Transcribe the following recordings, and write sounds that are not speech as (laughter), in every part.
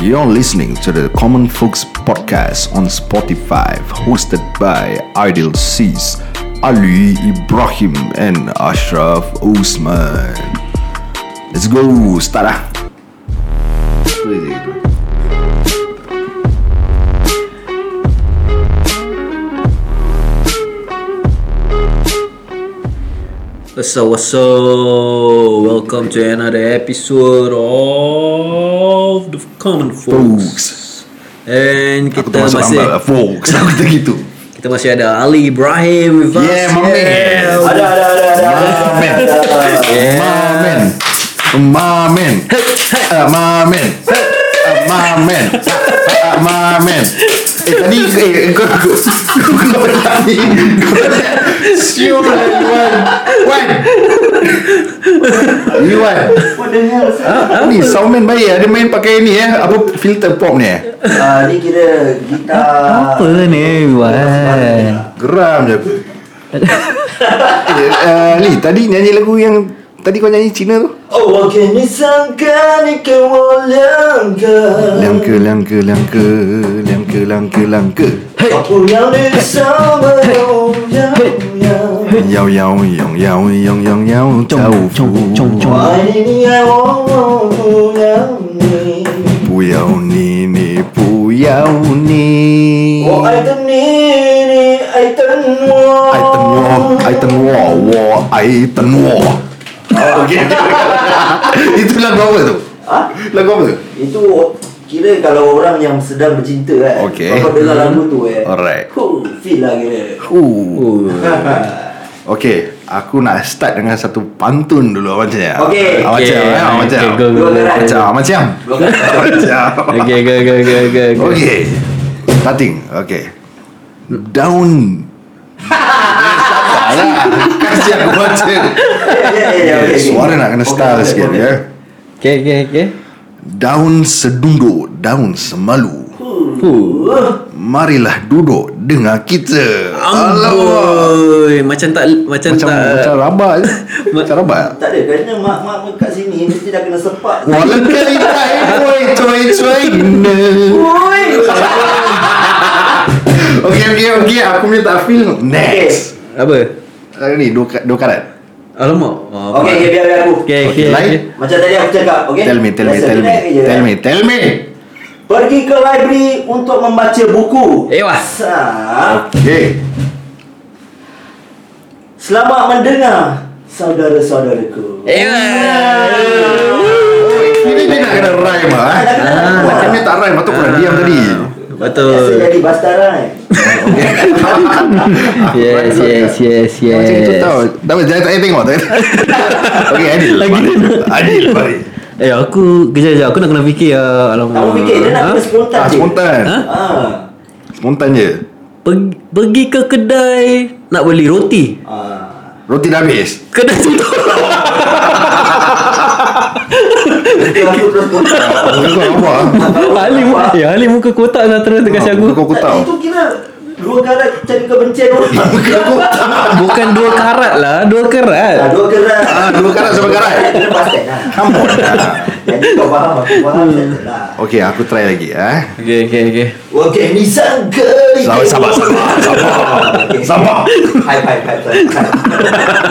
You're listening to the Common Folks podcast on Spotify, hosted by Ideal Seas, Ali Ibrahim, and Ashraf Usman. Let's go, start ah. Play it. What's up, what's up? Welcome to another episode of The Common Folks. And Aku kita termasuk masih lambat lah, folks. Aku kata gitu. kita masih ada Ali Ibrahim with us. Yeah, my man. Ada ada ada ada. Mamen. Mamen. Mamen. Eh, Mamen. Eh, Mamen. Eh, Mamen. Eh tadi eh, kau kau kau kau tak ni. Siul Wan. Wan. Ni Wan. What the hell? sir? Ni soundman baik eh. dia main pakai ni eh. Apa filter pop ni eh. Ah, ni kira gitar. Apa ni buat? Geram je aku. eh, uh, Li tadi nyanyi lagu yang tadi kau nyanyi Cina tu. Oh, wakin ni sangka ni kewalangka. Langka langka langka langka langka langka. Aku yang ni sama kau yang yang. Yao yao yong yao yong yong yao tau fu. Wah, ini ni awang yang ni. Bu yao ni ni bu yao ni. Oh, ai tan ni ni ai tan wo. Ai ten wo, ai ten wo, wo ai ten wo. Okey. Oh, (laughs) Itu lagu apa tu? Ha? Lagu apa tu? Itu kira kalau orang yang sedang bercinta kan. Okey. Kalau dengar lagu tu eh. Hmm. Alright. Huh, feel (laughs) lah kira. Uh. Okey, aku nak start dengan satu pantun dulu Abang Ciam. Okey. Abang Ciam, Okey. eh, Abang Ciam. Okey, go, go, go, go. Abang Ciam, Abang Ciam. Abang Ciam. Okay, go go go go (laughs) go. Okey. Starting. Okey. Down. Sabarlah. Kasih aku baca. (laughs) Ya, ya, ya, Okey, okey, Suara okey. nak kena Okey, style boleh, sikit boleh. ya. Okay, okay, okay. Daun sedundo, daun semalu. Huh. Marilah duduk dengar kita. Amboi, macam tak macam, Macam tak macam rabak. (laughs) je. Macam rabak. Ah, Tak ada kerana mak-mak pun kat sini mesti dah kena sepak. Walau kali tak eh, Cuy cuy cuy Oi. Okay okay okay Aku punya tak feel Next apa? Ah, Ni dua, ka- dua karat Alamak. Oh, Okey, okey, biar biar aku. okay, Okey, okay. lain. Macam tadi aku cakap, okey? Tell me tell me Lesson tell me relax je. Tell me tell me Pergi ke library untuk membaca buku. Eh, wah. Sa- Okay Selamat mendengar saudara-saudaraku. Eh, wah. Ini dia nak kena rhyme lah eh. Ah, Macam ni tak rhyme Patut Ah. korang diam tadi Biasa Betul. jadi bastara eh. Yes, yes, yes, yes. Macam itu tau Tak apa jangan tak payah (laughs) tengok tak payah. Okay Adil Lagi Adil mari Eh aku Kejap kejap Aku nak kena fikir ah. Alamak Kamu fikir dia nak Ha? kena Hmm. Ah, spontan. je. Spontan Ha? Ah. Spontan je Pergi, pergi ke kedai Nak beli roti Ah. Roti dah habis Kedai tutup Itu aku terus spontan. Kau kau apa (laughs) Ali muka Ya Ali muka kotak Dah terus dekat si aku Kau kau tahu Itu kira dua karat cari kebencian orang. Bukan dua karat lah Dua Ah, karat dua karat. Ah, dua karat sama karat. Kena pasal lah. Come on lah. Jadi kau faham aku faham Hmm. betul lah. Okay aku try lagi eh. Okay okay okay Okey, ni sangka ni. Sabar sabar sabar sabar. Okey. Sabar. Hai hai hai. hai.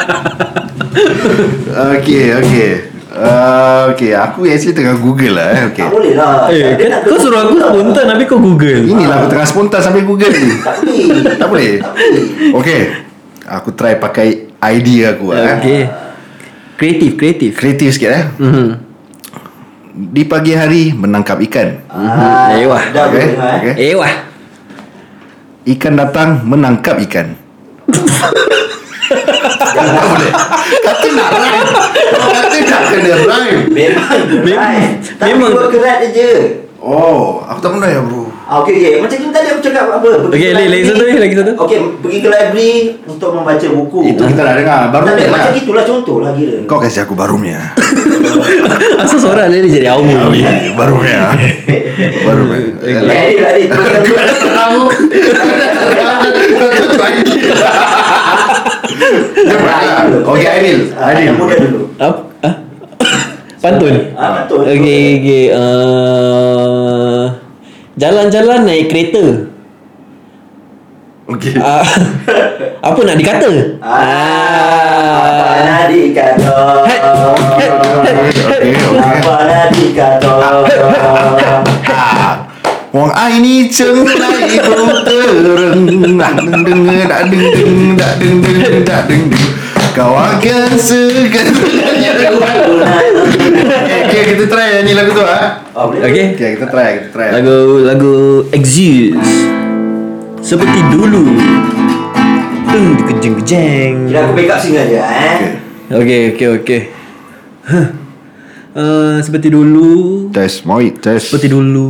Okay okay. Uh, okay aku actually tengah google lah eh. Okay. Tak boleh lah. Eh Dia kan, nak kau suruh aku kena- spontan Tapi kau google Inilah aku tengah spontan sampai google ni. Tak boleh. Tak boleh. Okay. Aku try pakai idea aku eh. Okay Kreatif kreatif Kreatif sikit eh. Mhm. Di pagi hari menangkap ikan. Ah, Eh, wah. Dah boleh Okay. dengar eh. okay. Eh wah (laughs) Ikan datang menangkap (laughs) ikan. tak boleh. Kata nak rhyme. Kata nak kena rhyme. Memang Memang- berat. Tapi memang- dua kerat je. Oh, aku tak pernah ya bro. Ah, okey okey. Macam kita tadi aku cakap apa? pergi Okey, lagi- ke lagi library. satu lagi, lagi satu. Okey, pergi ke library untuk membaca buku. Itu kita dah dengar. Baru Tak ada, dengar. macam itulah contoh lah kira. Kau kasih aku barumnya. (laughs) Asal sorak dia jadi aumu (laughs) barumnya. barumnya. Ya, Eh, Adi, Adi, (laughs) teruskan. Tahu. Kau tu tu Aidil. Jom, Aidil. Ah, Okey Aidil. Aidil. Yang muda dulu. Apa? Ah? (laughs) Pantun? Ah, pantun. Okey, okey. Uh, jalan-jalan naik kereta. Okay. Ah, (laughs) apa nak dikata? Ah, Apa Ah. nak dikata okay, okay. Apa nak dikata Wang ai ni ceng lai bertereng nak deng deng nak deng deng nak deng deng nak deng deng kau akan segan Aku nak okay, okay, kita try nyanyi lagu tu ah. Oh boleh Okey. Okay, kita try, kita try. Lagu lagu Exist. Seperti dulu. Tung kejeng kejeng. Kira aku pick up single je eh Okey, okey, okey. Huh. Uh, seperti dulu. Test, mau test. Seperti dulu.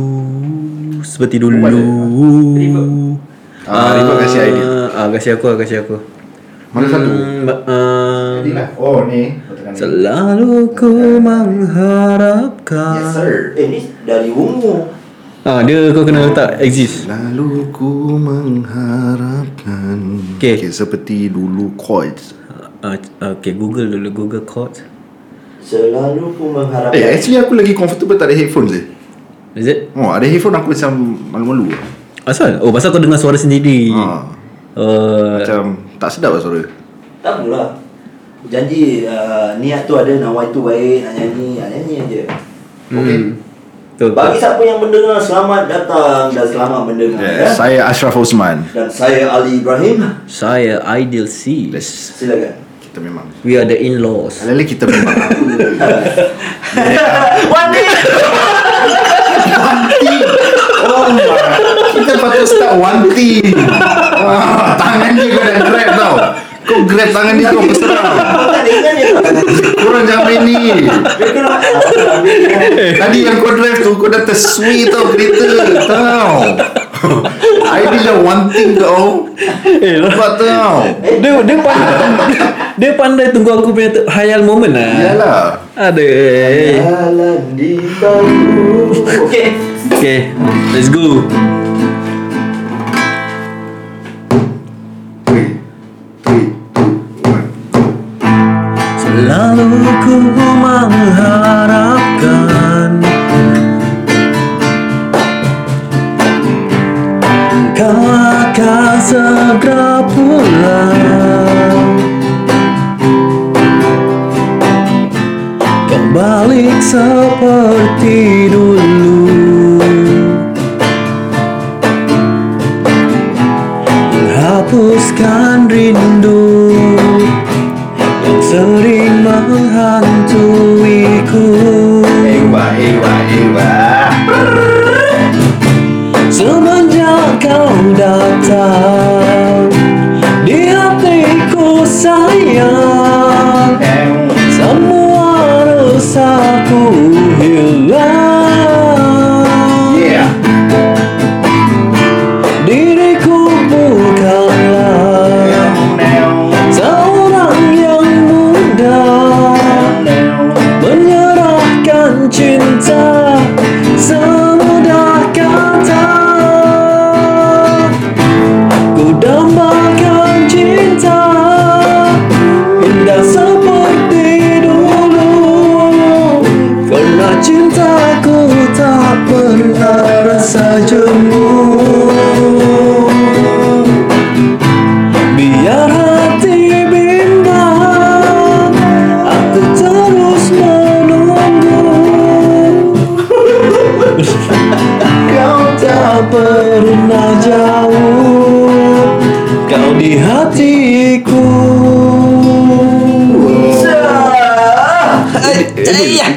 Seperti dulu. Ah, Ribut kasih idea. Ah, kasih aku, ah, kasih aku. Mana satu? Hmm, ba- ah, Oh, ni. selalu ku mengharapkan. Yes, sir. Eh ni dari ungu Ah, dia kau kena letak exist. Lalu ku mengharapkan Okay. okay seperti dulu chords Ah, ah, okay, Google dulu Google chords. Selalu ku mengharapkan Eh actually aku lagi comfortable tak ada headphone je Is it? Oh ada headphone aku macam malu-malu Asal? Oh, pasal kau dengar suara sendiri. Ah. Uh, Macam tak sedap lah suara Tak apalah Janji uh, niat tu ada Nawai tu baik Nak nyanyi Nak nyanyi aja Okay betul. Bagi siapa yang mendengar Selamat datang Dan selamat mendengar Yes, ya? Saya Ashraf Osman Dan saya Ali Ibrahim Saya Ideal C. Yes Silakan Kita memang We are the (laughs) in-laws. Alele kita memang Wati Oh Kita patut start one thing Wah, Tangan dia kau nak grab tau Kau grab tangan dia kau berserang Tak ada ingat dia Korang jangan main ni Dia kena Alhamdulillah. (laughs) Tadi yang kau drive tu Kau dah tersui tau kereta Tau (laughs) Ideal dah one thing kau Eh, Nampak tau dia dia pandai dia pandai tunggu aku punya tu- hayal moment lah. Yalah Ada. Eh. Jalan di tahu Okay Okay, let's go. Selalu ku mengharapkan Kau akan segera pulang Kau balik seperti dulu Hapuskan rindu Yang sering menghantuiku Ewa ewa ewa Semenjak kau datang Di hatiku sayang Semua resahku hilang Yeah Diriku bukanlah Seorang yang muda Menyerahkan cinta Semudah kata Ku dambakan cinta Indah seperti dulu Karena cintaku tak pernah rasa jemu Biar hati bimbang Aku terus menunggu Kau tak pernah jauh Kau di hatiku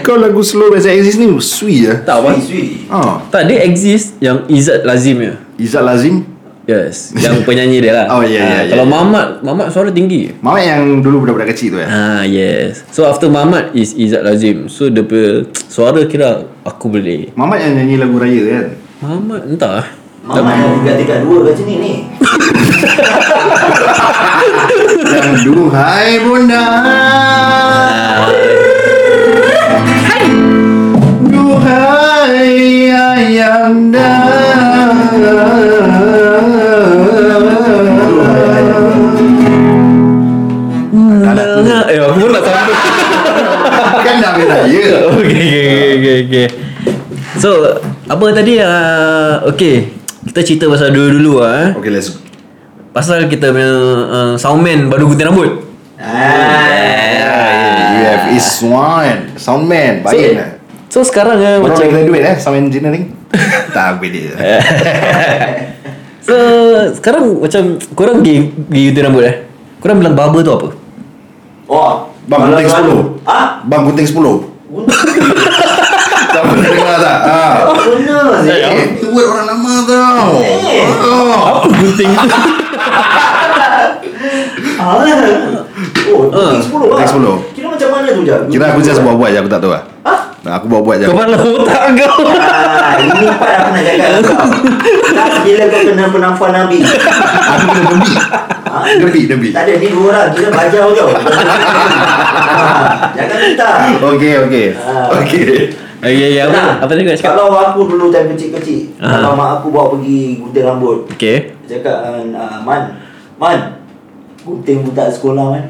Kau lagu slow Reza Aziz ni Sui lah Tak apa Sui Ah, Tak dia exist yang Izzat Lazim ya Izzat Lazim Yes Yang penyanyi dia lah Oh, ya, ya, Ah, ya, Kalau ya. Mamat Mamat suara tinggi Mamat yang dulu budak-budak kecil tu eh Ah yes So after Mamat is Izzat Lazim So dia punya suara kira aku boleh Mamat yang nyanyi lagu raya kan Mamat entah Mama yang juga tingkat dua kat sini ni Yang duhai bunda Ah. Duhai ayanda Eh aku pun nak sambung (laughs) Eh, Kan dah minta ya. okay, okay, okay, okay, okay. So, apa tadi? Uh, okay, kita cerita pasal dulu-dulu lah. Eh. Okay, let's Pasal kita punya uh, soundman baru gunting rambut. Eh. You have Iswan Soundman So, Baik lah so sekarang eh, Baru macam dia graduate eh Sound engineering Tak boleh dia So sekarang macam korang pergi pergi gunting rambut eh. Korang bilang barber tu apa? Oh, Bang gunting 10 Ah, Bang gunting 10 Tak boleh dengar tak (laughs) ah. Benar sih. Eh, Itu word orang lama tau Eh. Ah. Apa gunting tu? Ah. Oh, Ah, gunting 10 lah. gunting 10. Kira macam mana tu je? Eh, Kira aku just buat-buat je Aku tak tahu lah Ha? Nah, aku buat-buat je (laughs) Kepala otak kau. Ah, ini part aku nak cakap dengan kau. Tak bila kau kena penampar Nabi. Aku kena demi Ha? (laughs) Demi, demi Tak ada ni dua orang kira bajau (laughs) kau. Ah, Jangan minta. Okay, okay Ah. Okay Okay, okay, Ya, Nah, apa, apa tadi kau nak cakap? Kalau aku dulu time kecil-kecil, Ah. kalau mak aku bawa pergi gunting rambut, Okay. dia cakap dengan ah, Man, Man, gunting budak sekolah man.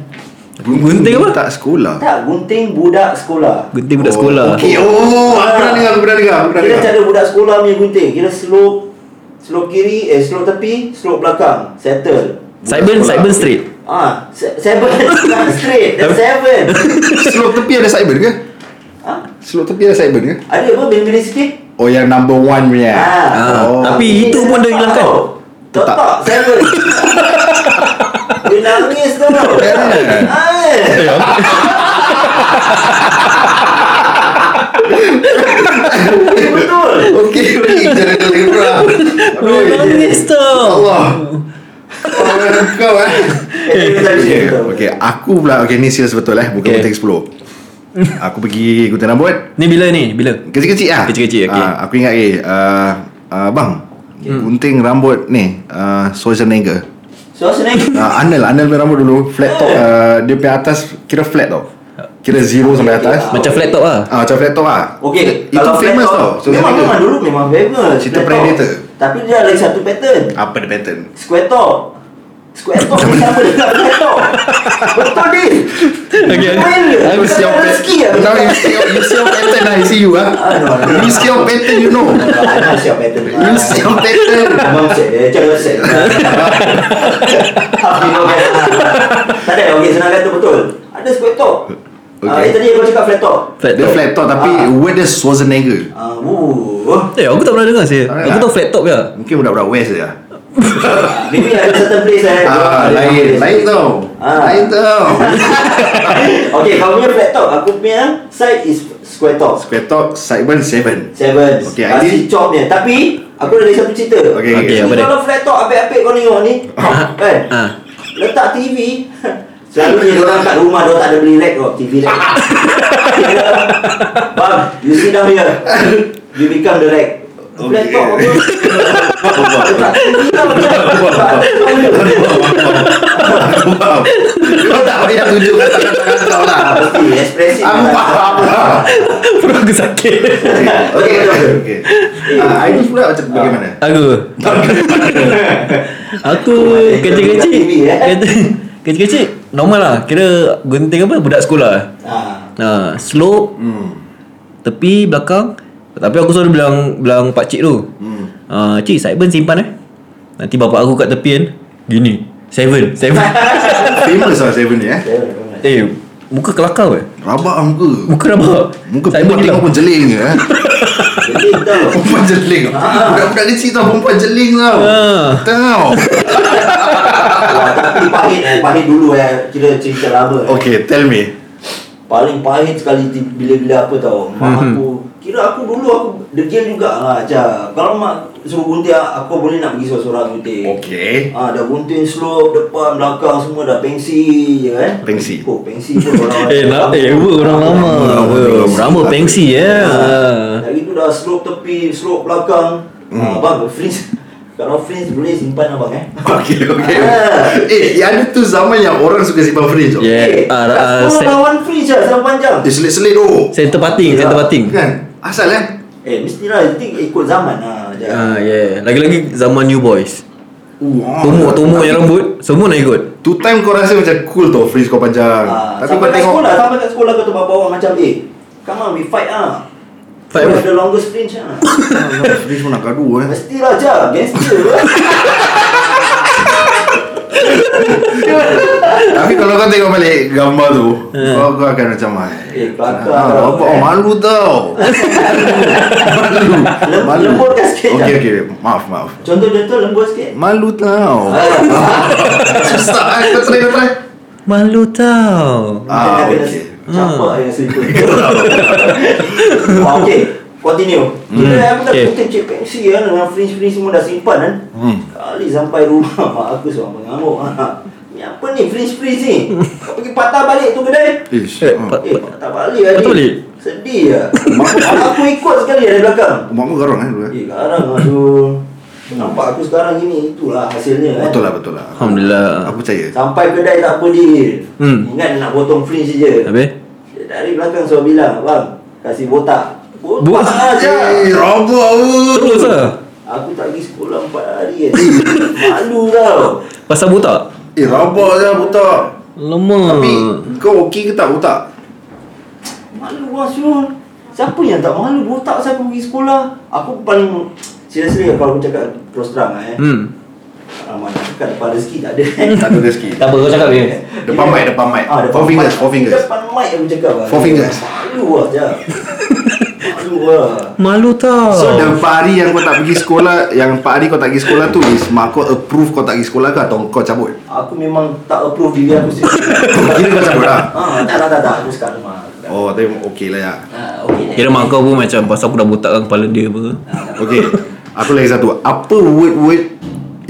Gunting apa? Tak sekolah Tak, gunting budak sekolah. Gunting budak sekolah. Okay, oh Aku pernah dengar, aku pernah dengar Aku pernah Kira dengar cara budak sekolah punya gunting, kira slope slope kiri, eh slope tepi, slope belakang, settle. Sideburn, sekolah. sideburn straight. Ah, se- seven (laughs) bukan straight, that's seven. Slope tepi ada sideburn ke? Ha? Slope tepi ada sideburn ke? Ada apa bila-bila sikit? Oh yang number one punya Ah, Oh. tapi itu pun dah hilangkan. Tetap. Tetap (laughs) seven. Dia nangis tu. Eh. Ah. Betul. Okey, okey Jangan kena kurang Kau nangis tau. Allah Allah kau eh Okay, okay. Aku pula Okay ni serius betul eh Bukan Okay. okay. gunting 10 Aku pergi gunting rambut Ni bila ni? Bila? Kecil-kecil lah Kecil-kecil, okey. Hmm. Ah, Aku ingat eh uh, uh, Bang Gunting rambut ni uh, Schwarzenegger Suasana ni. uh, Arnold Arnold punya rambut dulu Flat Oh. top uh, Dia punya atas Kira flat tau Kira zero sampai atas Macam flat (laughs) top lah. Ah, macam flat top lah Okey, Itu kalau famous flat tau top, Memang Schwarzenegger. memang dulu memang famous. Cerita flat top. Predator. Tapi dia ada lagi satu pattern. Apa the pattern? Square top. Square top ni sama dengan flat top. Betul ni. Okey, okey. Main ke? You see your Kau tak ada rezeki pattern lah. Now you see your, you see your pattern lah I see you ah. You see your pattern you know Anak siap pattern. You see your pattern Abang set dia, cara set Tapi kau kata Tak ada, okey senang kata betul Ada square top Okey. Ah, eh, tadi kau cakap flat top Flat Dia top. flat top tapi Ah. Where the Schwarzenegger Ah, wuh. Eh, aku tak pernah dengar sih. Tak pernah. Aku tahu flat top je. Mungkin budak-budak west je lah Maybe ada certain place eh Ah, Ada lain, certain place. lain tau Ah. Lain tau Okey, kau punya flat top Aku punya side is square top Square top, sideburn, seven Seven Okey, Ah, Aidil. si chop ni Tapi Aku ada satu cerita Okey, okey, apa (laughs) dia? Kalau flat top apik-apik kau tengok ni Kan Ah. Letak (laughs) TV Selalunya dia orang kat rumah dia orang tak ada beli rack kok TV (laughs) rack. Bang, you sit down here. You become the rack. Okay. Laptop apa? Letak lah, TV kau, (laughs) lah, Aku faham Kau tak payah tunjuk kata-kata kau lah Ah, Mesti ekspresif. Aku faham lah Perut aku sakit. Okay, okay, okay Ah, Aidil pula macam bagaimana? Aku. Aku kecil-kecil TV, eh? kecil- Kecil-kecil Normal lah Kira gunting apa Budak sekolah Ah. ha, Slope Tepi belakang Tapi aku selalu bilang Bilang pakcik tu hmm. ha, Cik sideburn simpan eh Nanti bapak aku kat tepi kan Gini Seven Seven (laughs) Famous lah Seven ni eh Eh Muka kelakar eh Rabak lah muka Muka rabak Muka perempuan tengok Sideburn hilang pun jeling je eh Jadi (laughs) tau. Perempuan jeling Budak-budak kecil tau perempuan jeling tau Ah. Tau Wah, Tapi pahit eh, pahit dulu eh. Kira cerita lama. eh. Okay tell me Paling pahit sekali ti- bila-bila apa tau Mak Hmm. aku Kira aku dulu aku degil juga lah Ajar Kalau mak suruh gunting Aku boleh nak pergi seorang-seorang gunting Okay Ah, dah gunting slope, depan, belakang semua dah pensi je kan Pensi. Oh pensi pun (laughs) orang Eh, la- eh apa orang lama Orang lama. Rambut pensi eh Ah, Lagi tu dah slope tepi, slope belakang ah, Hmm. Abang freeze Kalau freeze boleh simpan abang eh Okay okay Ah. Eh yang ada tu zaman yang orang suka simpan fringe tau Yeah Eh, ah, kat ah, sekolah se- lawan freeze lah, sama panjang Dia selit-selit tu Center parting Center parting Kan Asal eh Eh, mestilah, I think ikut zaman lah Ya. Ajar Ah yeah. Lagi-lagi zaman new boys. Wah. Ah. Tomok-tomok yang rambut semua nak ikut. Tu time kau rasa macam cool tau fringe kau panjang Ah, Tapi kau sampai kat (laughs) tengok sekolah, sampai kat sekolah kau tu bawa macam eh Come on, we fight ah. Fight apa? We have the longest fringe ah. (coughs) Dia semua nak gaduh eh Mestilah Jah, gangster lah. (coughs) Tapi kalau kau tengok balik gambar tu Kau, kau akan macam Eh, kelakar ah, kau, bapak, eh." malu (laughs) tau Malu Lem- Malu lemburkan sikit, Okay Jam. okay Maaf maaf Contoh-contoh lembut sikit. Malu tau Ah, Susah eh, Kau try kau try Malu tau Ah kena- kena okay Campak yang (laughs) seliput. Ah, Okay, continue. Hmm. Kita aku tak Okay. kutip cik pensi kan dengan fringe-fringe semua dah simpan kan. Hmm. Kali sampai rumah (laughs) mak aku seorang mengamuk. ah. Ni apa ni fringe-fringe (laughs) ni? Kau pergi patah balik tu kedai. Ish Eh, ah. pat- Eh, patah balik hari. Patah balik? Sedih lah. Mak aku ikut sekali dari belakang. Mak kau garang kan dulu eh Eh, garang aduh. Nampak aku sekarang ini itulah hasilnya kan. Betul lah betul lah Alhamdulillah Aku percaya Sampai kedai tak apa dia. Hmm. Ingat nak potong fringe je. Habis? Dia Dari belakang suami bilang, bang, kasih botak. Botak? Botak aja. Eh, Rabak aku Terus lah Aku tak pergi sekolah 4 hari kan. Malu tau. Pasal botak? Eh rabak je butak Lama Tapi kau okey ke tak butak? Malu orang suruh. Siapa yang tak malu botak saya pergi sekolah? Aku paling serius-serius kalau aku cakap terus terang lah, eh. Hmm. Hmm Ramai nak cakap depan rezeki tak ada. Tak ada rezeki Tak apa kau cakap dia (laughs) Depan mic, depan mic. Ah, depan Four mic. fingers, four fingers. Depan mic aku cakap lah. Four fingers. Malu lah je. Malu lah. Malu tau So the empat hari yang kau tak pergi sekolah Yang empat hari kau tak pergi sekolah tu Is mak kau approve kau tak pergi sekolah ke Atau kau cabut? Aku memang tak approve diri aku sendiri. Kira kau cabut lah Ah, tak tak tak tak. Aku sekarang rumah. Oh tapi okey lah ya Ah, okey. Kira mak kau pun macam Pasal aku dah botakkan kepala dia apa Ah, tak apa. Okey Aku lagi satu Apa word-word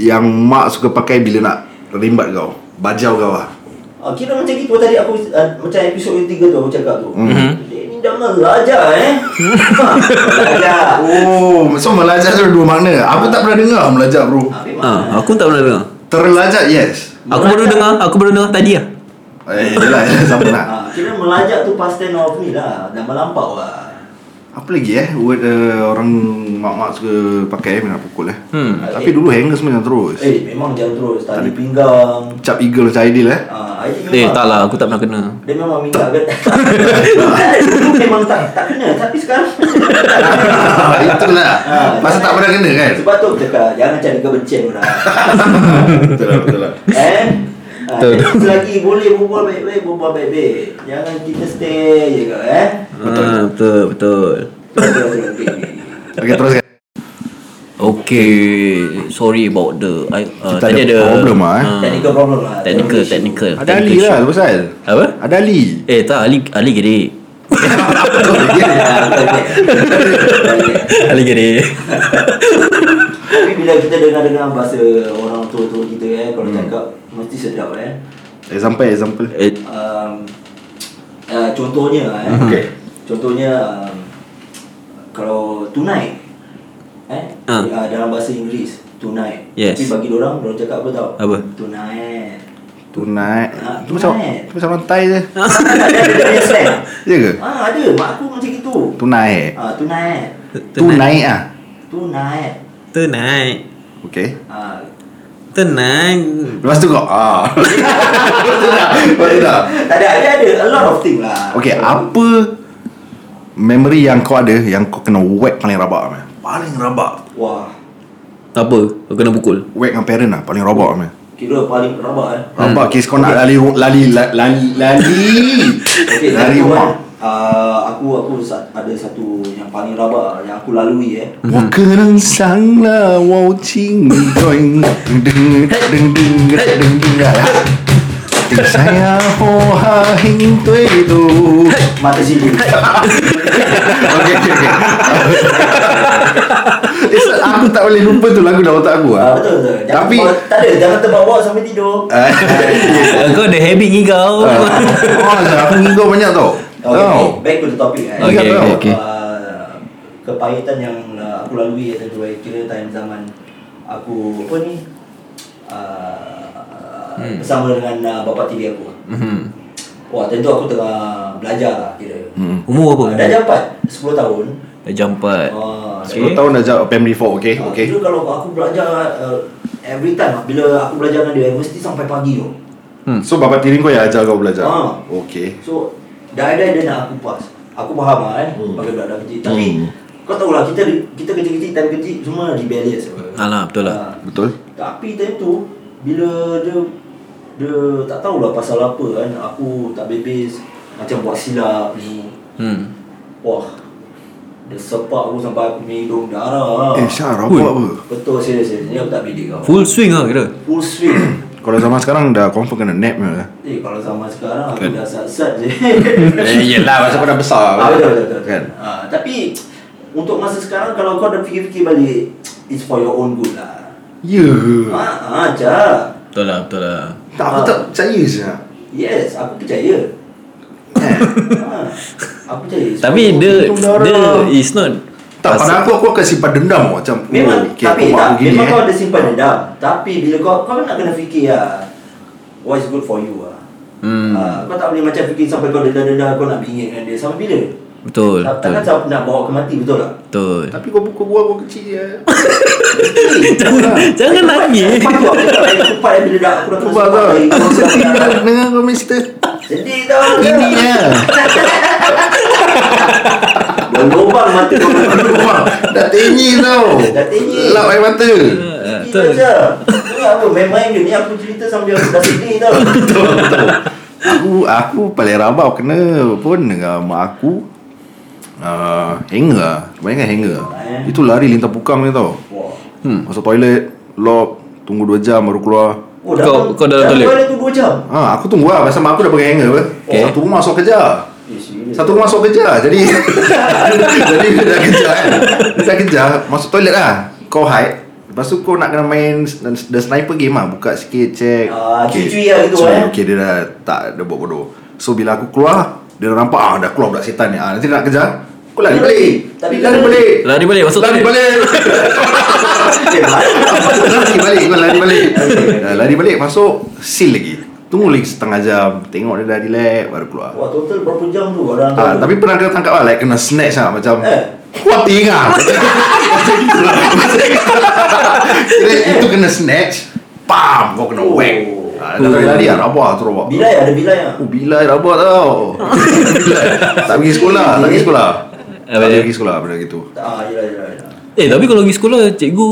Yang mak suka pakai bila nak Rimbat kau Bajau kau lah Ah, kira macam gitu tadi aku ah, macam episod yang tiga tu aku cakap tu. Mhm. Dia ni dah melajar (laughs) eh. Ah, Melajar. Oh So melajak tu ada dua makna Aku tak pernah dengar melajak bro Habis Ah, mana? Aku tak pernah dengar Terlajak yes Aku baru dengar Aku baru dengar tadi lah Eh yelah sama lah Ah, kira melajak tu past tense of ni lah. Dah melampau lah. Apa lagi eh Word uh, orang mak-mak suka pakai eh, Bila nak pukul eh Hmm. Tapi dulu hangers macam terus Eh, memang jam terus. Tali pinggang. Cap eagle macam ideal eh Ah, Eh ID memang- tak lah Aku tak pernah kena Dia memang minta kan Dulu memang tak, tak kena Tapi sekarang (laughs) Itulah Ah, Masa tak pernah kena kan Sebab tu aku cakap Jangan cari kebencian (laughs) orang Betul lah betul lah Eh Ah, Betul. jadi selagi boleh berbual baik-baik Berbual baik-baik Jangan kita stay je kau eh Betul. Ah, Betul Betul Betul, betul, betul. Okay teruskan Okay Sorry about the I, Kita uh, Tadi ada ada problem lah, eh. Ah, Technical problem lah Technical Technical Ada Ali technical lah issue. tu pasal Apa? Ada Ali Eh tak Ali Ali (laughs) gede (laughs) Ah, betul, betul. Betul. Ali gede Tapi bila kita dengar-dengar bahasa orang tua-tua kita eh Kalau Hmm. cakap Mesti sedap eh Example example Eh um, uh, contohnya eh, Okey. contohnya um, kalau tonight eh Ah. uh, dalam bahasa Inggeris tonight Yes. tapi bagi orang orang cakap apa tau Apa? tonight Tunai Ah, Tu macam tunai. Tu macam orang Thai je ada dia punya slang Ya ke? ah ada mak aku macam gitu Tunai ah tonight Tunai ah tonight Tonight Okay ah Tonight Lepas tu kau (laughs) ah. Lepas tu dah Lepas tu dah (laughs) tak ada dia ada a lot of thing lah Okay apa Memory yang kau ada Yang kau kena whack paling rabak man? Paling rabak wah Apa? Kau kena pukul Whack dengan parent lah Paling rabak man. kira paling rabak eh Rabak kes kau nak lali Lali la- Lali Lali Okay, Lari lari rumah Uh, aku aku sa- ada satu yang paling rabak yang aku lalui eh. 我可能伤了我情，噔噔噔噔噔噔噔噔。ha 等下呀，我还应对路。 Mata sili. Okay, okay, (laughs) okay. Eh, Sat, aku tak boleh lupa tu lagu dalam otak aku lah. Ah, betul betul. Jangan Tapi (laughs) Eh. Ah, terbawa- tak ada jangan terbawa sampai tidur. (laughs) Eh, Kau ada habit ni kau Oh, Sat, aku ngigau banyak tau. Okay, Tau. back to the topic eh. Oh. Okay, okay, Ah, okay. kepahitan yang uh, aku lalui eh, tentu eh, kira time zaman aku apa ni? Uh, Hmm. bersama dengan uh, bapa tiri aku. Wah, tentu aku tengah belajar lah kira. Hmm. Eh. Umur Uh, dah apa? jam 4, 10 tahun. Dah jam 4 Ah, 10 tahun dah jawab family 4, Eh, okay? Ah, Okay. Kira kalau aku belajar uh, every time ah, bila aku belajar dengan dia mesti sampai pagi tu. Hmm. So, bapak tiri kau yang ajar kau belajar? Ah. Okay. So dah ada dia nak aku pass. Aku faham lah eh hmm. Pakai budak-budak kecil Tapi hmm. Kau tahulah kita kita kecil-kecil Time kecil semua rebellious apa. Alah, betul lah. Ah. Betul? Tapi time tu Bila dia Dia tak tahulah pasal apa kan Aku tak bebes Macam buat silap ni Hmm. Wah Dia sepak aku sampai aku punya hidung darah Eh, Syah, rabak apa? Betul serius serius Ni aku tak bedek kau Full swing lah kira. Full swing Kalau zaman sekarang dah confirm kena nap ni lah. (coughs) Eh kalau zaman sekarang aku Kan. dah sat-sat je (laughs) Eh, yelah, masa kau dah besar. Ah, betul, betul, betul. Kan? Ah, tapi untuk masa sekarang kalau kau dah fikir-fikir balik It's for your own good lah Ya. Ah, ah, Jah Betul lah, betul lah. Tak, Ah. aku tak percaya je. Yes, aku percaya. (laughs) ha, aku percaya. Sebab Tapi aku- dia, Hidung darah. dia is not Tak, pasal- pada aku, aku akan simpan dendam tau. macam. memang oh, okay, tapi aku buat tak, begini, memang eh. kau ada simpan dendam. Tapi bila kau kau nak kena fikir lah what is good for you lah. Hmm. Ah, kau tak boleh macam fikir sampai kau dendam-dendam kau nak bingit dengan dia sampai bila? Betul, Tak, betul. takkan sampai nak bawa ke mati betul tak? Betul. Tapi kau pukul gua, aku kecil ya. je. (laughs) lah. Jangan, jangan (laughs) nangis. Aku aku tak boleh kupat yang bila dah aku dah Cuba kau. Kau sedih tak dengar kau, mister? Sedih tau. Ini ya. (laughs) Dah lubang mata kau. (laughs) Wah, dah tinggi tau. Dah tinggi. Lap air mata. Ah, Kita Betul. je Ni apa main-main je Ni aku cerita sambil aku dah sedih tau Aku aku paling rabau kena pun dengan mak aku. Uh, hanger lah. Kebanyakan hanger lah. Eh. Itu lari lintang pukang ni tau Wah. hmm. Masuk toilet Lock Tunggu 2 jam baru keluar Oh, Kau- kau dalam toilet? tu 2 jam Ha, aku tunggu lah Pasal mak aku dah pakai hanger apa Okay. okay. Satu rumah masuk kerja Eh, serius. Satu rumah masuk kerja lah, Jadi (laughs) Jadi dia dah kerja kan Dia dah kerja Masuk toilet lah Kau hide Lepas tu kau nak kena main s- The sniper game lah Buka sikit check Ah, Okay. cuci lah gitu, So, eh. Okay dia dah Tak dia buat bodoh So bila aku keluar Dia dah nampak ah, Dah keluar budak setan ni ah, Nanti dia nak kejar Kau lari Lari. balik Tapi Lari lari. balik Lari balik masuk Lari toilet. balik (laughs) Eh, mana? Lari balik Kau lari balik Dah Lari balik Masuk Seal lagi Tunggu lagi setengah jam Tengok dia dah relax Baru keluar Wah total berapa jam tu orang Ah, tu? tapi pernah kena tangkap lah, like kena snatch lah macam Eh. kuat (laughs) ingat. Macam gitu lah. Kira itu kena snatch, pam kau kena Oh. whack. Ah, dah tak lari lah, rabah tu rabah. Bilai ada bilai ah. Oh, bilai rabah (laughs) tau. Bilai. tak pergi sekolah, tak pergi sekolah. Tak Apa dia? pergi sekolah benda gitu. Ah, yelah yelah yelah. Eh tapi kalau pergi sekolah cikgu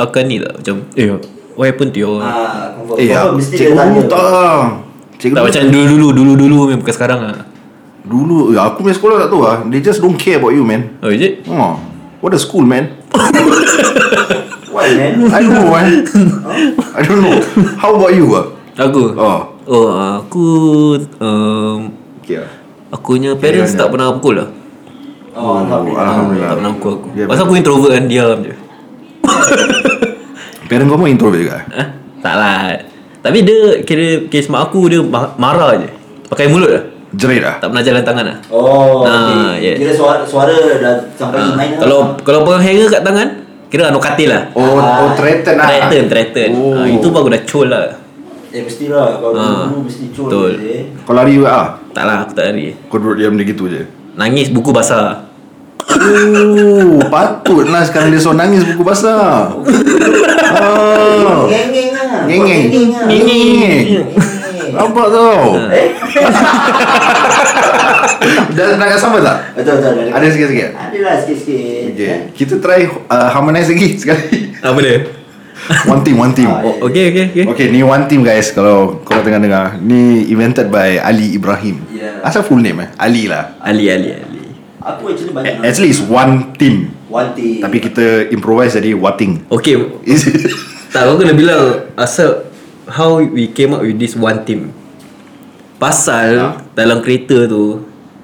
akan ni tak macam eh what happened to your Ah, confirm. Eh, ah, Confirm mesti dia tanya. cikgu tak. ah. Cikgu tak macam dulu-dulu dulu-dulu memang bukan sekarang ah. dulu eh, aku punya sekolah tak tahu ah. They just don't care about you, man. Oh is it? Oh, what a school, man. Why man? I don't know, eh. I don't know. How about you, ah? Aku. Oh. Oh aku um, Okay. akunya parents Kira-kira. tak pernah pukul lah. Oh, alhamdulillah. Alhamdulillah. Tak pernah pukul aku. Ya, Pasal aku introvert kan diam je. Parent kau pun introvert juga eh? Ha? Tak lah. Tapi dia kira kes mak aku dia ma- marah je. Pakai mulut lah. Jerit lah Tak pernah jalan tangan lah. Oh, Ah, okay. yeah. Kira suara suara dah sampai Ha, main. kalau kalau pegang hanger kat tangan kira anu katil lah. Oh, Ah. oh threaten lah Threaten, threaten. Oh. Ha, itu pun aku dah col lah. eh mestilah kalau Ah, dulu mesti eh. col betul. je. Kau lari juga ah. Tak lah, aku tak lari. Kau duduk diam dia gitu je Nangis buku basah. Oh, (laughs) patutlah sekarang dia seorang nangis buku basah oh. Ngengeng ah. Ngengeng ah. Ngengeng Ngengeng. Nampak tau Ah. Eh. Dah nak kat sama tak? Betul betul. betul. Ada sikit-sikit? Adalah sikit-sikit. Eh? Okay. Kita try uh, harmonize lagi (laughs) sekali Apa dia? One team, one team Oh, okay, okay, okay. Okay, ni one team guys Kalau korang tengah dengar Ni invented by Ali Ibrahim Yeah. Ya. Asal full name eh? Ali lah Ali, Ali, Ali. Aku actually A- banyak. Actually it's one team one thing. Tapi kita improvise jadi wating Okay, Is it? (laughs) tak aku kena bilang asal how we came up with this one team. Pasal Ah. dalam kereta tu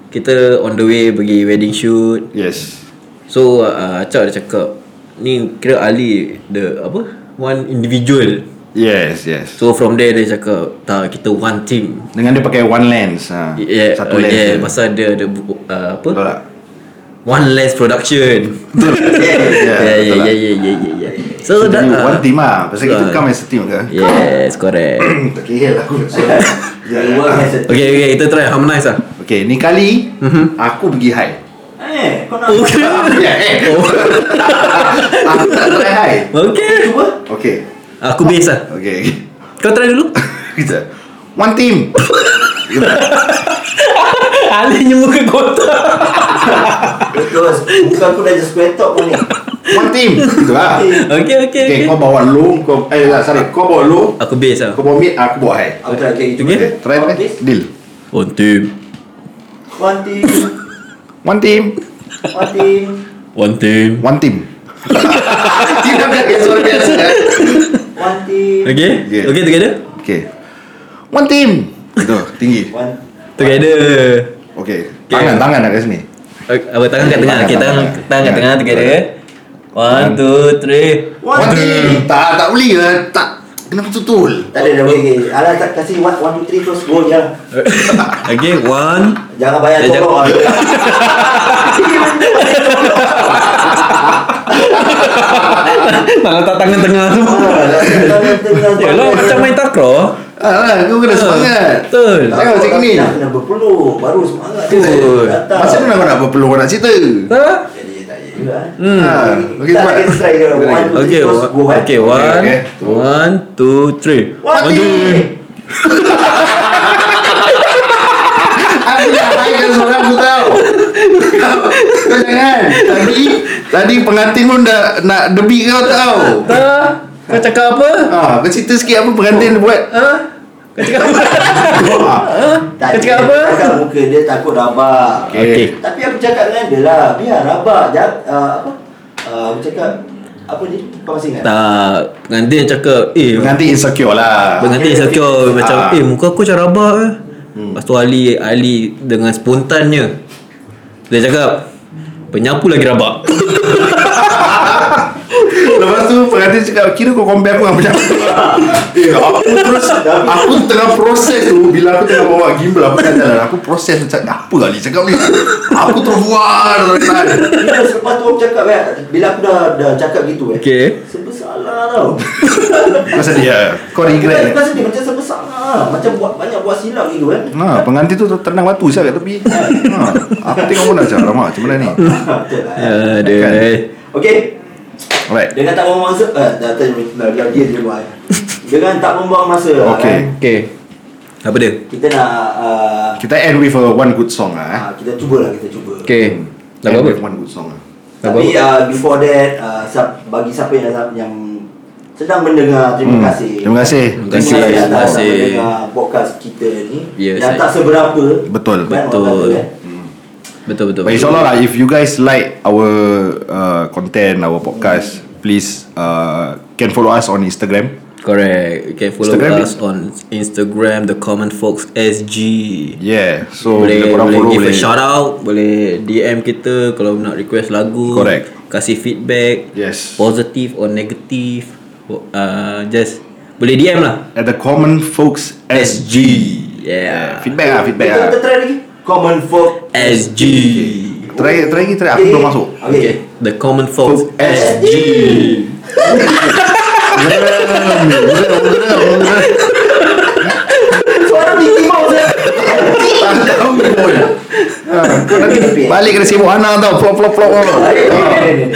kita on the way pergi wedding shoot. Yes So uh, Acak dia cakap ni kira Ali the apa? One individual. Yes, yes So from there dia cakap tak kita one team. Dengan dia pakai one lens ha. Yeah, Satu oh, lens yeah, je. pasal dia ada bu- uh, apa? Betul (laughs) tak? One Lens Production. (laughs) Ya, yeah, yeah, betul yeah, tak? yeah, yeah, yeah, yeah. So, So, that, jadi one uh, team lah Pasal kita betul. come as a team ke Yes, (coughs) correct. Tak kira lah (laughs) aku so, yeah, yeah. work (laughs) as a okay, okay, kita try harmonize lah. Okay, ni kali Mm-hmm. Aku pergi (laughs) high Eh, kau nak Okay. Ya, eh Aku Ah, tak try high Okay. cuba? Okay Aku base lah. Okay (laughs) (laughs) Kau try dulu. Kita One team Kita Alin yang muka kotak Terus Muka aku dah just square top pun ni Ah, One team Gitu lah Okay okay Okay, okay kau bawa low kau, Eh lah sorry Kau bawa low Aku base lah Kau bawa mid ah, Aku bawa high Aku tak kira itu Okay. Okay Try try Please. Deal On team One team One team One team One team One (laughs) team Tidak biasa Suara biasa kan One team Okay Okay. Okay together Okay One team Gitu tinggi One Together Okay Tangan tangan ada sini okay, Apa tangan kat tengah Okay tangan Tangan kat tengah together One two three One team. Tak tak boleh lah Tak Kenapa tutul Tak ada dah boleh okay. Alah tak kasih one, one two three terus go je lah Okay one Jangan bayar Eh, tolong (laughs) lah Nak letak (laughs) tangan tengah tu Ah, Yalah macam main takraw Alah Ah, kau kena semangat Betul Tengok macam ni. Dah kena berpeluh Baru semangat tu Betul. Datang. Macam mana kau nak berpeluang nak cerita Tak Jadi tak jadi juga eh. Hmm. Ah, okay, Tak, buat. kita try dia. Okay, One, two, Okay, three, terus wa- go, eh. okay, one, Okay, one, two, three. One team. Aku nak bayar suara aku tau Kau- Kau jangan Tadi Tadi pengantin pun dah Nak debik kau tau Tak, kau cakap apa? Ah, kau cerita sikit apa pengantin dia buat Ha? Kau cakap apa? Tak, Kau cakap dia apa? Cakap muka dia takut rabak Okay. Tapi aku cakap dengan dia lah Biar rabak Jangan uh, Apa uh, Aku cakap Apa ni Kau masih ingat? Tak, pengantin Ah, cakap, eh, Pengantin insecure lah pengantin sakit macam, Ah. Hmm. eh, muka aku macam rabak eh. Lepas tu Ali, Ali dengan spontannya. Dia cakap, penyapu lagi rabak. Lepas tu pengantin cakap Kira kau compare aku dengan macam Eh aku terus Aku tengah proses tu Bila aku tengah bawa gimbal Aku tengah jalan Aku proses macam Apa kali cakap ni Aku terbuar Bila selepas tu aku cakap eh, Bila aku dah, dah cakap gitu eh Okay. Sebesalah tau Kau sedih Kau Bukan- regret Bukan sedih Macam sebesalah Macam buat banyak buat silap gitu kan Ha, pengantin tu tenang batu saya kat tepi. Ha, aku tengok pun dah macam lama macam mana ni. (laughs) Betul lah eh. Aduh. Kan? Okay Alright. Dengan tak membuang masa eh, Dah tanya dah- dah dia je (laughs) buat Dengan tak membuang masa lah, Okay. kan. Okay. Apa dia? Kita nak uh, Kita end with a one good song lah. eh. Hmm. ah, Kita cubalah kita cuba Okay. End Lagu apa? with one good song lah. Lagu Tapi uh, before that uh, siap- Bagi siapa yang, yang sedang mendengar Terima Hmm. kasih Terima kasih. Terima kasih Terima Terima kasih. kasih Mendengar podcast kita ni Ya, Yang saya- tak seberapa Betul. Hmm. kan, orang Betul. kata, kan? Betul, betul. But insyaAllah lah If you guys like Our uh, content Our podcast Please uh, Can follow us on Instagram Correct. You can follow Instagram us on Instagram The Common Folks SG. Yeah So boleh korang boleh give a shout out, boleh DM kita kalau nak request lagu. Correct. Ya. Kasih feedback. Yes. Positive or negative. Uh, just boleh DM lah. At the common folks SG Yeah. Feedback lah Feedback Kita, lah kita try lagi Common folk SG. Try try lagi try Aku belum (laughs) masuk Okay, Okay. The Common Folks Folks SG. Suara Mickey Mouse (laughs) eh? Tak tahu pun. (laughs) Ha, kau nanti Balik kena sibuk anak tau Plop plop plop Ni, ni, Ha, ni, ni.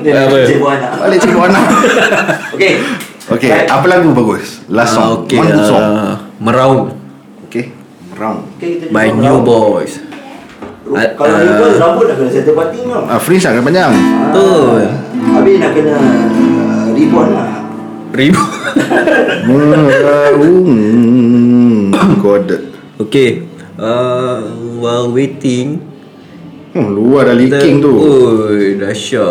Ni, Apa? ni, Cikgu anak Balik sibuk anak Okay Okay Right. Apa lagu bagus Last Ah, song okay. One good song Uh, Meraung Okay Round Okay, kita by jumpa New rambut. Boys. Ru- Kalau Ah. new boy Rambut nak kena settle party tau Ah, fringe agak panjang. Betul. Habis nak kena uh, Reborn lah Ribu. (laughs) Meraung kodet. Okay uh, While waiting Hmm, luar dah leaking tu. Oi dahsyat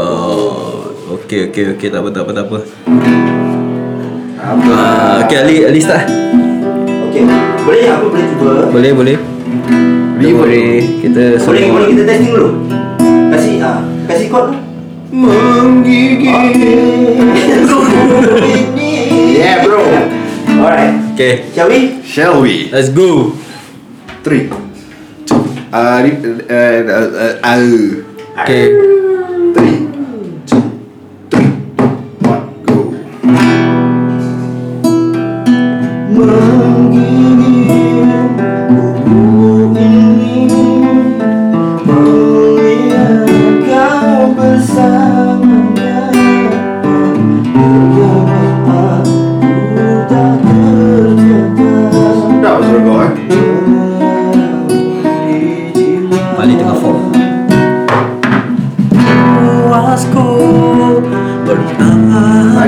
Okay okay okay tak apa tak apa tak apa Apa? uh, Okay Ali Ali start Okay Boleh aku boleh cuba Boleh boleh Boleh boleh Kita Boleh boleh semua kita testing dulu Kasih ah Kasih chord Menggigit (laughs) Yeah, bro. Alright Okay Shall we? Shall we? Let's go Three. Two. Ah, ri- eh, eh, eh, ah. Okay Three. Two. Three. One. Go. Bersama Sedap suara kau eh. Di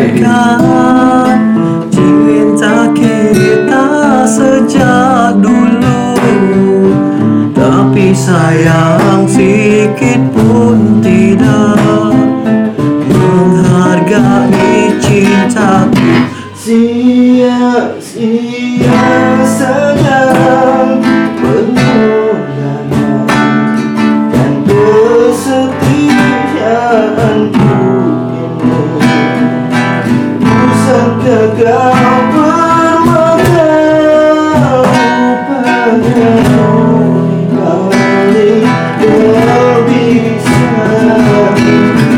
Takkan cinta kita sejak dulu Tapi sayang sikit pun tidak Menghargai cintaku Sia sia sayang pengorbanan dan kesetiaanku Usahkah kau bermata rupanya kau ini gelisah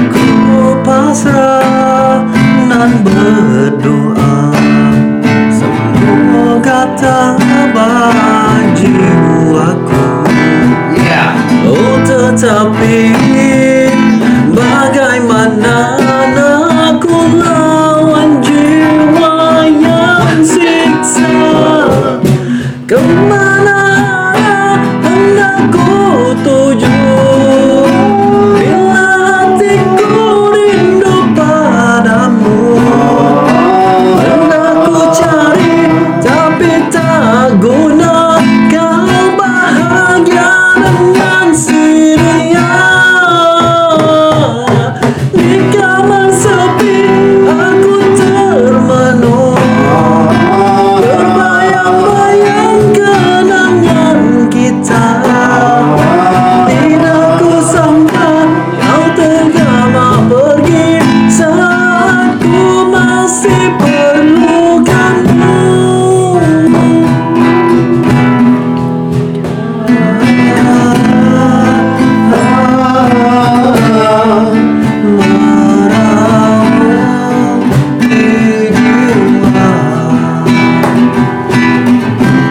Ku pasrah dan berdoa Semoga tak jiwaku Oh tetapi bagaimana aku lawan jiwa yang siksa Kemana hendakku tuju Bila hatiku rindu padamu Hendakku cari tapi tak guna Kau bahagia dengan siria Di kamar sepi aku termenung Terbayang-bayang kenangan kita Tidak kusangka kau tengah mau pergi Saat ku masih perlukanmu Merawat di jiwa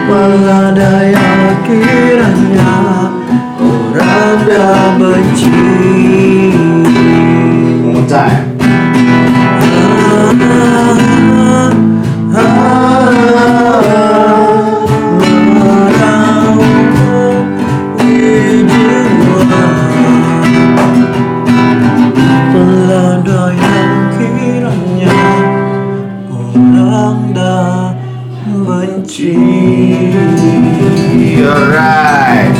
Walau daya kiranya orang dah benci One more time. Ah, ah, meraung di jiwa. Walau daya kiranya orang dah benci You're right.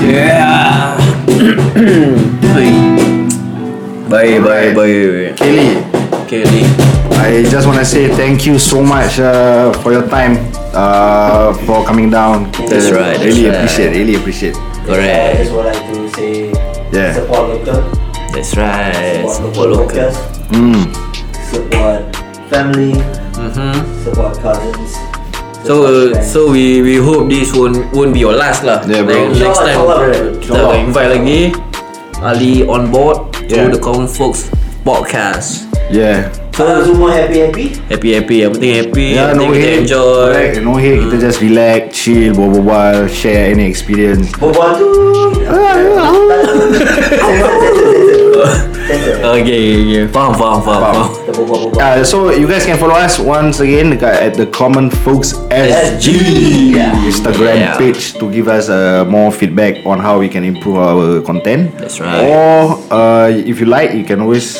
Yeah. (coughs) baik, baik, baik. Kelly, Okay, ni. I just want to say thank you so much uh, for your time uh, for coming down. Kita That's right, that's Really right. appreciate. Really appreciate. I Correct. just would like to say Yeah. support local, That's right. support Support local local. podcast, Hmm. support family, Mm-hmm. support cousins. So support uh, friends. so we we hope this won't won't be your last lah. Yeah, bro. Like, next time Insyaallah, bro. kita akan invite lagi Ali on board Yeah. to the Common Folks podcast. Yeah. Kalau semua happy happy, Happy happy, yang penting happy, Yeah, yang Ya, no penting kita hate. enjoy. Correct. No hate. Kita just relax, chill, berbual, share any experience. berbual tu. Okay, yeah. faham faham faham. Faham. faham. Kita Uh, berbual-berbual. so you guys can follow us once again dekat at the Common Folks SG Yeah. Instagram Yeah. page to give us uh, more feedback on how we can improve our content. That's right. Or uh, if you like, you can always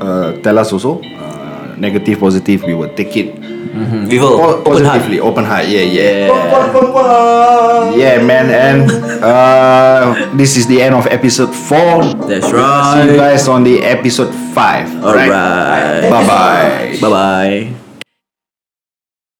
uh, tell us also. Uh, negative, positive, we will take it Mm, We will po- open heart. positively. Open heart. Yeah, yeah. Berbual-berbual. Yeah, man. And uh, this is the end of episode four. That's See you right. guys on the episode five. Alright. Bye bye. Bye bye.